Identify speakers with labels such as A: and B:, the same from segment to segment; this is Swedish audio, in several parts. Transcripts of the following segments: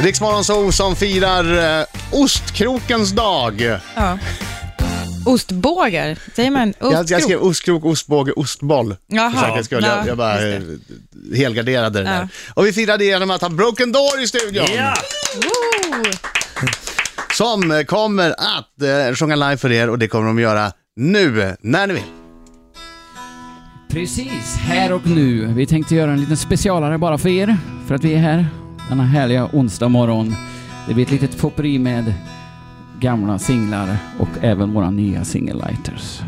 A: Riksmorgon Zoo som firar eh, ostkrokens dag.
B: Ja. Ostbågar, säger man
A: Jag, jag
B: ostkrok?
A: skrev ostkrok, ostbåge, ostboll.
B: Jaha.
A: För säkerhets skull.
B: Ja,
A: Jag, jag bara eh,
B: just
A: helgarderade det
B: Ja.
A: där. Och vi firade genom att ha Broken Door i studion.
C: Ja!
B: Woo!
A: Som eh, kommer att eh, sjunga live för er och det kommer de göra nu, eh, när ni vill.
D: Precis, här och nu. Vi tänkte göra en liten specialare bara för er, för att vi är här denna härliga onsdag morgon. Det blir ett litet popperi med gamla singlar och även våra nya singellighters.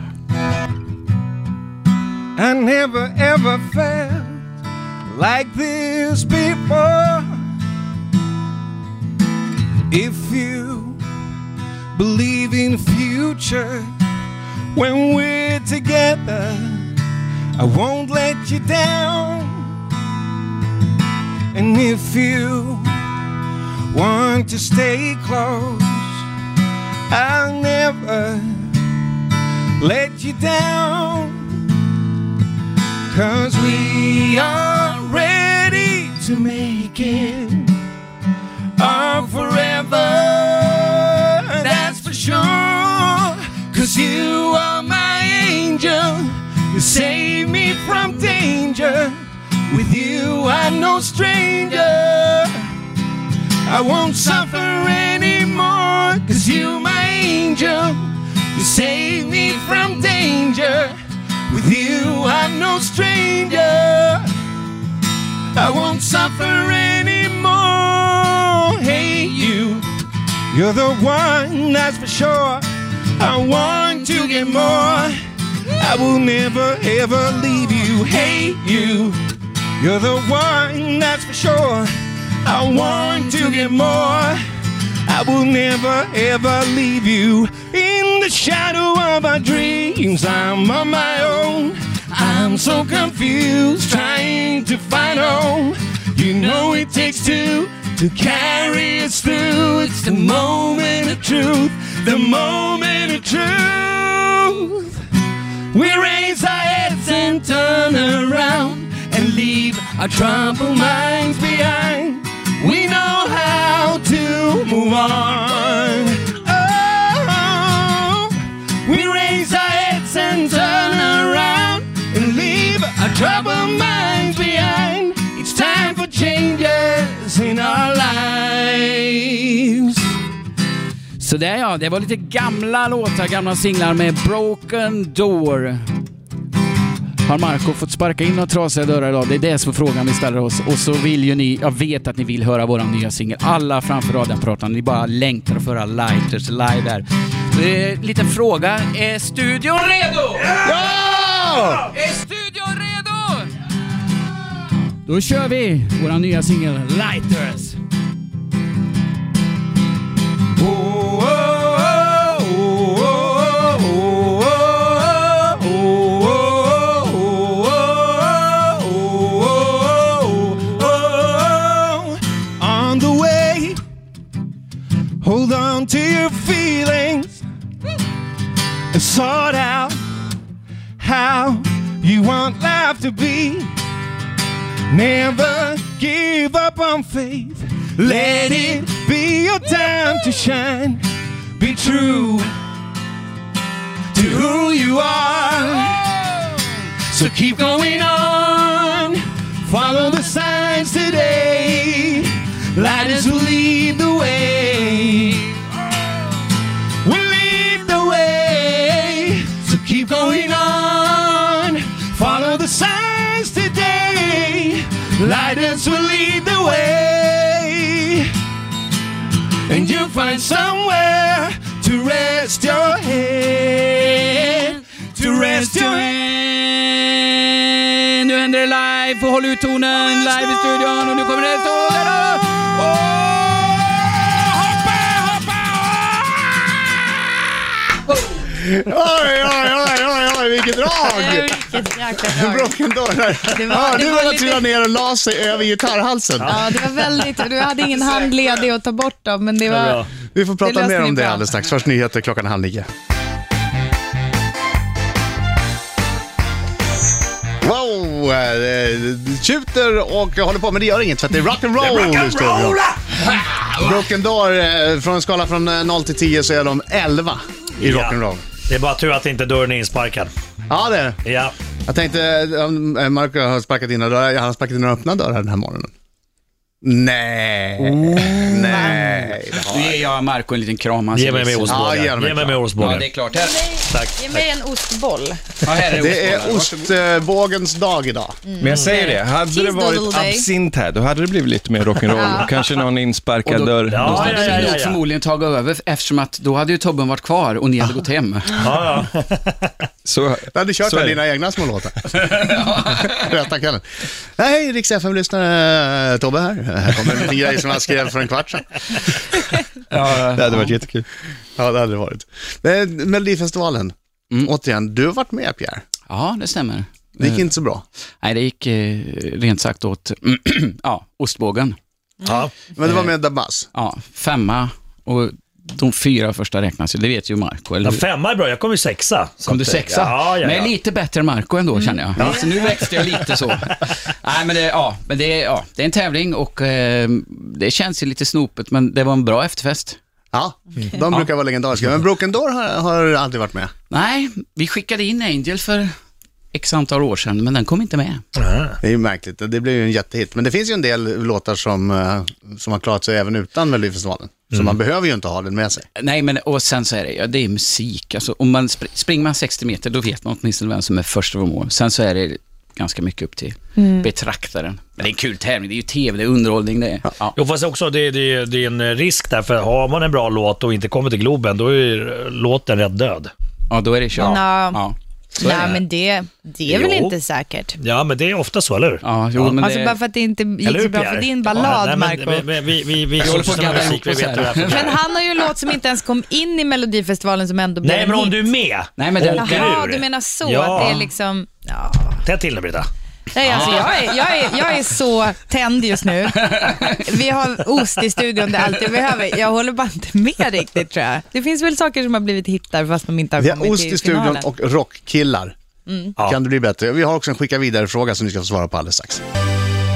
E: I never ever felt like this before. If you believe in future, when we're together, I won't let you down. And if you want to stay close, I'll never let you down. Cause we are ready to make it our forever. That's for sure. Cause you are my angel. You save me from danger. With you, I'm no stranger. I won't suffer anymore. Cause you, my angel, you save me from danger. With you, I'm no stranger. I won't suffer anymore. Hey, you, you're the one, that's for sure. I want to get more. I will never, ever leave you. Hey, you, you're the one, that's for sure. I want to get more. I will never ever leave you in the shadow of my dreams. I'm on my own. I'm so confused trying to find home. You know it takes two to carry us through. It's the moment of truth, the moment of truth. We raise our heads and turn around and leave our troubled minds behind. We know how to move on. Oh, we raise our heads and turn around and leave our troubled minds behind. It's time for changes in our lives.
D: Så där ja, det var lite gamla låtar, gamla singlar med Broken Door. Har Marco fått sparka in några trasiga dörrar idag? Det är det som är frågan vi ställer oss. Och så vill ju ni, jag vet att ni vill höra våran nya singel. Alla framför radioapparaterna, ni bara längtar att få höra Lighters live här. Eh, liten fråga, är studion redo?
A: Ja!
D: Är studion redo? Då kör vi våran nya singel Lighters.
E: On the way, hold on to your feelings and sort out how you want life to be. Never give up on faith. Let it be your time to shine. Be true to who you are. So keep going on. Follow the signs today. Lighters will lead the way. Will lead the way. So keep going on. Follow the signs today. Lighters will lead the way and you'll find somewhere to rest your head. To rest your head.
D: Nu händer det live, och håll ut tonen live i studion och nu kommer det så här då.
E: Hoppa, hoppa!
A: Oj, oj, oj, oj, oj, vilket
B: Eh,
A: drag!
B: Vilket jäkla drag.
A: Broken Door.
B: Det var-
A: Hörde
B: det
A: du
B: var
A: att jag
B: lite-
A: trillade ner och la sig över gitarrhalsen?
B: Ja, det var väldigt... Du hade ingen hand ledig att ta bort dem, men det var...
A: Vi får
B: Det
A: prata
B: löser
A: mer
B: ni
A: om det
B: bra.
A: alldeles strax. Först nyheter klockan halv nio. Wow! eh, Tjuter och håller på, men det gör inget för att det är rock'n'roll i studion. Broken Door, eh, från en skala från eh, 0 till 10 så är de 11 i
C: Ja.
A: rock'n'roll.
C: Det är bara tur att inte dörren är insparkad.
A: Ja, det är det.
C: Ja.
A: Jag tänkte, um, eh, Marco har sparkat in några dörrar. Han har sparkat in några öppna dörrar den här morgonen. Nej, nej. det har-
D: Nu ger jag Marco en liten kram. alltså. han
C: Ge
D: ser
C: mig med
D: ledsen ut.
A: Ja,
C: ostbågen.
A: ge dem
C: Ge
A: en
C: mig med
D: Ja, det är
C: ostbågen.
D: klart. Här,
C: Tack.
F: Ge mig en ostboll.
D: ja, här är
A: Det är
D: ostbollar.
A: ostbågens dag idag.
E: Men jag säger det, hade det
B: Cheese
E: varit
B: doodle day.
E: absint här, då hade det blivit lite mer rock'n'roll. Kanske någon
D: Och
E: insparkad
D: då-
E: dörr.
C: Ja,
E: någonstans.
C: ja, ja,
D: Varsågod.
C: ja,
D: Nog
C: ja.
D: förmodligen tagit över eftersom att då hade ju Tobben varit kvar och ni hade gått hem.
C: Ja, ja.
E: Så,
A: Du hade kört
E: så är
A: med
E: det.
A: dina egna små låtar. Rätta kvällen. Nej, Hej, Rix FM-lyssnare. eh, Tobbe här. Här kommer en liten grej som jag skrev för en kvart sedan.
E: Det hade varit jättekul.
A: Ja, det hade det varit. Men Melodifestivalen.
E: Mm.
A: Återigen, du har varit med Pierre.
D: Ja, det stämmer.
A: Det gick inte så bra.
D: Nej, det gick eh, rent sagt åt ja, ostbågen.
C: ja.
A: Men det
E: Eh.
A: var med Dabas.
D: Ja, femma och de fyra första räknas ju. Det vet ju Marco, eller
C: ja
D: hur?
C: femma är bra. Jag kom ju sexa. Så
D: Kom du
C: att-
D: sexa?
C: Ja, ja,
D: Men
C: ja.
D: jag är lite bättre än Marco ändå
C: Mm.
D: känner jag. Så nu växte jag lite så. Nej men det, ja, men det, är- ja, det är en tävling och eh, det känns ju lite snopet men det var en bra efterfest.
A: Ja,
E: Mm.
A: de brukar vara legendariska. Men Broken Door har, har aldrig varit med.
D: Nej, vi skickade in Angel för x antal år sedan men den kom inte med.
A: Det är ju märkligt. Det blev ju en jättehit. Men det finns ju en del låtar som, eh, som har klarat sig även utan Melodifestivalen. Så
B: Mm.
A: man behöver ju inte ha den med sig.
D: Nej men och sen så är det, ja, det är musik. Alltså, om man spr- springer man 60 meter då vet man åtminstone vem som är först över mål. Sen så är det ganska mycket upp till
B: Mm.
D: betraktaren. Men det är en kul tävling, det är ju tv, det är underhållning det är. Ja.
C: Jo, fast också det, det, det är en risk där, för har man en bra låt och inte kommer till Globen, då är ju låten rätt död.
D: ja, då är det kört.
F: Ja.
D: Ja.
F: Nej, men det, det är väl
C: Jo.
F: inte säkert.
C: Ja, men det är ofta så, eller hur?
D: Ja, jo, men
B: Alltså
D: det...
B: bara för att det inte gick
C: Eller
B: så
C: hur,
B: bra
C: Pierre?
B: för din ballad,
C: Ja, nej, men-
B: Marco.
C: men- men Vi, vi, vi, vi
D: håller på
C: som
D: att
C: sysslar med
D: gadda
C: musik, vi
D: ihop oss
C: vet hur det
D: här.
C: är. för
B: Men
C: Pierre.
B: han har ju en låt som inte ens kom in i Melodifestivalen som ändå blev
C: Nej, men
B: en
C: om
B: hit.
C: du är med,
D: Nej, men den-
C: åker
B: Jaha,
C: ur.
B: du menar så,
C: Ja.
B: att det är liksom... Ja.
C: Tätt till nu, Britta.
B: Nej, alltså jag är, jag, är, jag är så tänd just nu. Vi har ost i studion, det är allt jag behöver. Jag håller bara inte med riktigt tror jag. Det finns väl saker som har blivit hittar fast de inte har
A: Vi
B: kommit
A: har ost i
B: till
A: studion
B: finalen. Mm.
A: och rockkillar.
C: Ja.
A: Kan det bli bättre? Vi har också en skicka vidare-fråga som ni ska få svara på alldeles strax.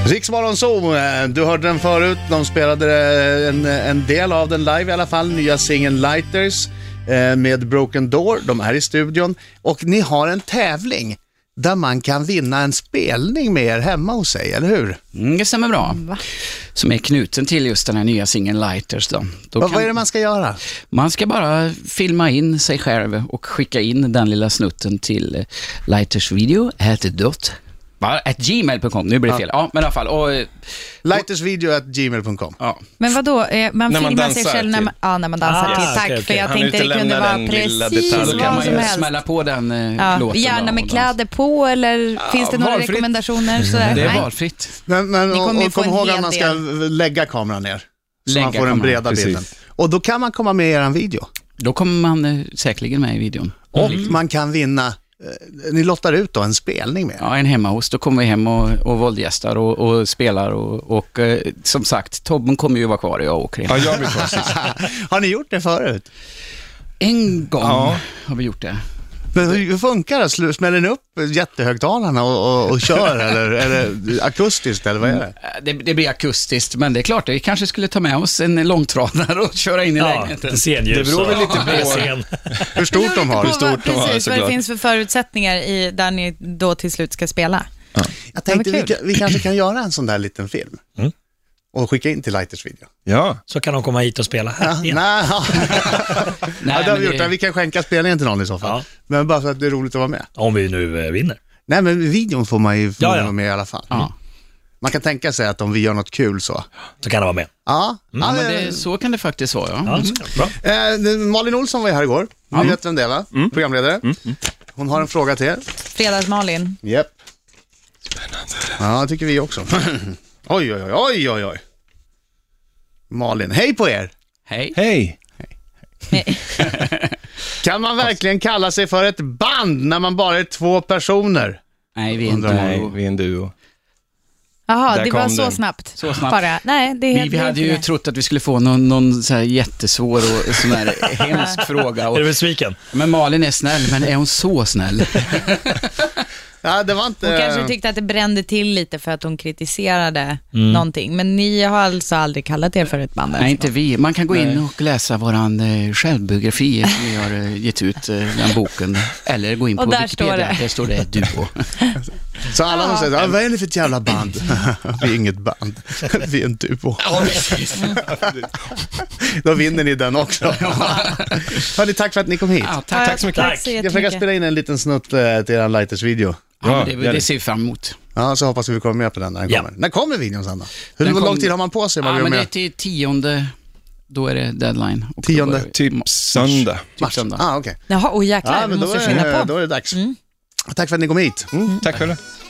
A: Riksmorgon Zoo, eh, du hörde den förut. De spelade eh, en, en del av den live i alla fall. Nya singeln Lighters eh, med Broken Door. De är i studion. Och ni har en tävling där man kan vinna en spelning med er hemma hos sig, eller hur?
D: Mm, det stämmer bra. Som är knuten till just den här nya singeln Lighters. Då. Då
A: Vad-
D: kan-
A: Vad är det man ska göra?
D: Man ska bara filma in sig själv och skicka in den lilla snutten till eh, lightersvideo at dot. Va? At gmail.com, nu blir det fel. Ja, men i alla fall. Och, eh,
A: Lightersvideo.gmail.com
D: ja.
B: Men vadå, eh, man
E: När man
B: filmar sig
E: dansar
B: själv när
E: till.
B: man, ja, när man dansar
C: Ah,
B: till. Tack,
C: okej,
B: för
C: okej.
B: jag
E: Han
B: tänkte det kunde
E: utelämnar
B: vara
E: den lilla
B: precis
E: detaljen.
D: Så kan
B: vad
D: man
B: som
D: ju
B: helst.
D: smälla på den eh,
B: Ja,
D: låten.
B: gärna
D: då,
B: med
D: och
B: kläder på eller finns det några
D: valfritt.
B: rekommendationer? Sådär?
D: dansa. Det är
B: Nej.
D: valfritt.
A: Men, men
B: Ni kommer
A: och,
B: ju
A: och
B: få
A: kom
B: en
A: ihåg att
B: hel
A: man ska lägga kameran ner. Så
D: Lägga
A: man får den
D: kameran,
A: breda
E: precis.
A: bilden. Och då kan man komma med i er video.
D: Då kommer man eh, säkerligen med i videon.
A: Och man kan vinna, eh, ni lottar ut då en spelning med er.
D: Ja, en hemmahost. Då kommer vi hem och, och våldgästar och, och spelar och, och eh, som sagt, Tobben kommer ju vara kvar och jag åker hem.
E: Ja, jag blir kvar sist.
A: Har ni gjort det förut?
D: En gång
E: Ja.
D: har vi gjort det.
A: Men hur hur funkar det? Slu- Smäller ni upp jättehögtalarna och, och, och kör eller, eller akustiskt eller vad är det?
D: Eh, Det, det blir akustiskt, men det är klart, vi kanske skulle ta med oss en långtradare och köra in i
C: Ja,
D: lägenheten.
C: lite scenljus.
E: Det beror väl
C: och-
E: lite på-
C: Ja, scen.
A: Hur
B: Det beror
A: stort de
B: lite
A: har?
B: på
A: Hur
B: vad-
A: stort de har.
E: har,
B: Precis, vad det
E: såklart.
B: finns för förutsättningar i, där ni då till slut ska spela.
A: Jag tänkte
B: Ja,
A: vi,
B: men kul.
A: kan- vi kanske kan göra en sån där liten film. Och skicka in till Lighters video.
E: Ja,
C: Så kan de komma hit och spela här.
A: Nej,
C: igen.
A: ja,
D: Nej,
A: det har vi
D: men
A: gjort. Vi kan skänka spelningen till någon i så fall.
C: Ja.
A: Men bara för att det är roligt att vara med.
C: Om vi nu eh, vinner.
A: Nej, men videon får man ju förmodligen
C: ja.
A: vara med i alla fall.
D: Ja.
A: Man kan tänka sig att om vi gör något kul så.
C: Så kan de vara med.
A: Ja,
D: Ja,
A: ja,
D: men
A: det-
D: det, så kan det faktiskt vara, ja.
C: Ja, bra.
A: Eh, nu- Malin Olsson var ju här igår. Ni vet vem det är va? Programledare. Hon har en fråga till er.
B: Fredags-Malin.
A: Japp. Spännande. Ja, det tycker vi också. oj, oj, oj, oj, oj, oj. Malin, hej på er!
D: Hej.
E: hej.
A: Kan man verkligen kalla sig för ett band när man bara är två personer?
D: Nej, vi är inte
E: Nej, vi är en duo.
B: Jaha,
E: Där
B: det var
E: kom
B: så
E: den.
B: snabbt.
D: Så snabbt.
B: Bara. Nej, det är
D: Vi,
B: helt
D: vi hade ju
B: det.
D: trott att vi skulle få någon, någon så här jättesvår och sån här hemsk fråga.
C: Är
D: Och,
C: du besviken?
D: men Malin är snäll, men är hon så snäll?
A: Ja, det var inte...
B: Hon kanske tyckte att det brände till lite för att hon kritiserade någonting. Men ni har alltså aldrig kallat er för ett band?
D: Mm. Nej, inte vi. Man kan gå in och läsa våran eh, självbiografi. Vi har eh, gett ut eh, den boken. Eller gå in på
B: Och där
D: Wikipedia.
B: står det.
D: Där står det Duo.
A: Så alla som säger, ah, vad är ni för ett jävla band? vi är inget band, vi är en duo. Då vinner ni den också. Hörni, tack för att ni kom hit.
D: Ja, tack, tack så mycket.
B: Tack så
A: Jag försöker
B: jättemycket.
A: spela in en liten snutt eh, till er Lighters-video.
D: Ja, det,
A: gör det.
D: det ser vi fram emot.
A: Ja, så hoppas vi vi kommer med på den när den
C: Ja.
A: kommer. När kommer videon Sanna? Hur
D: Den
A: lång
D: kom-
A: tid har man på sig? om Man
D: Ja,
A: vill
D: men
A: vara
D: det är
A: med?
D: till tionde, då är det deadline. Och då
A: Tionde.
D: börjar vi.
E: Typ söndag.
D: Typ söndag.
A: Ah, okej.
B: Jaha, oh, jäklar,
A: Ja,
B: vi
A: men då
B: måste
A: är,
B: skynda på. Mm.
A: då är det dags. Tack för att ni kom hit.
E: Mm, tack själv.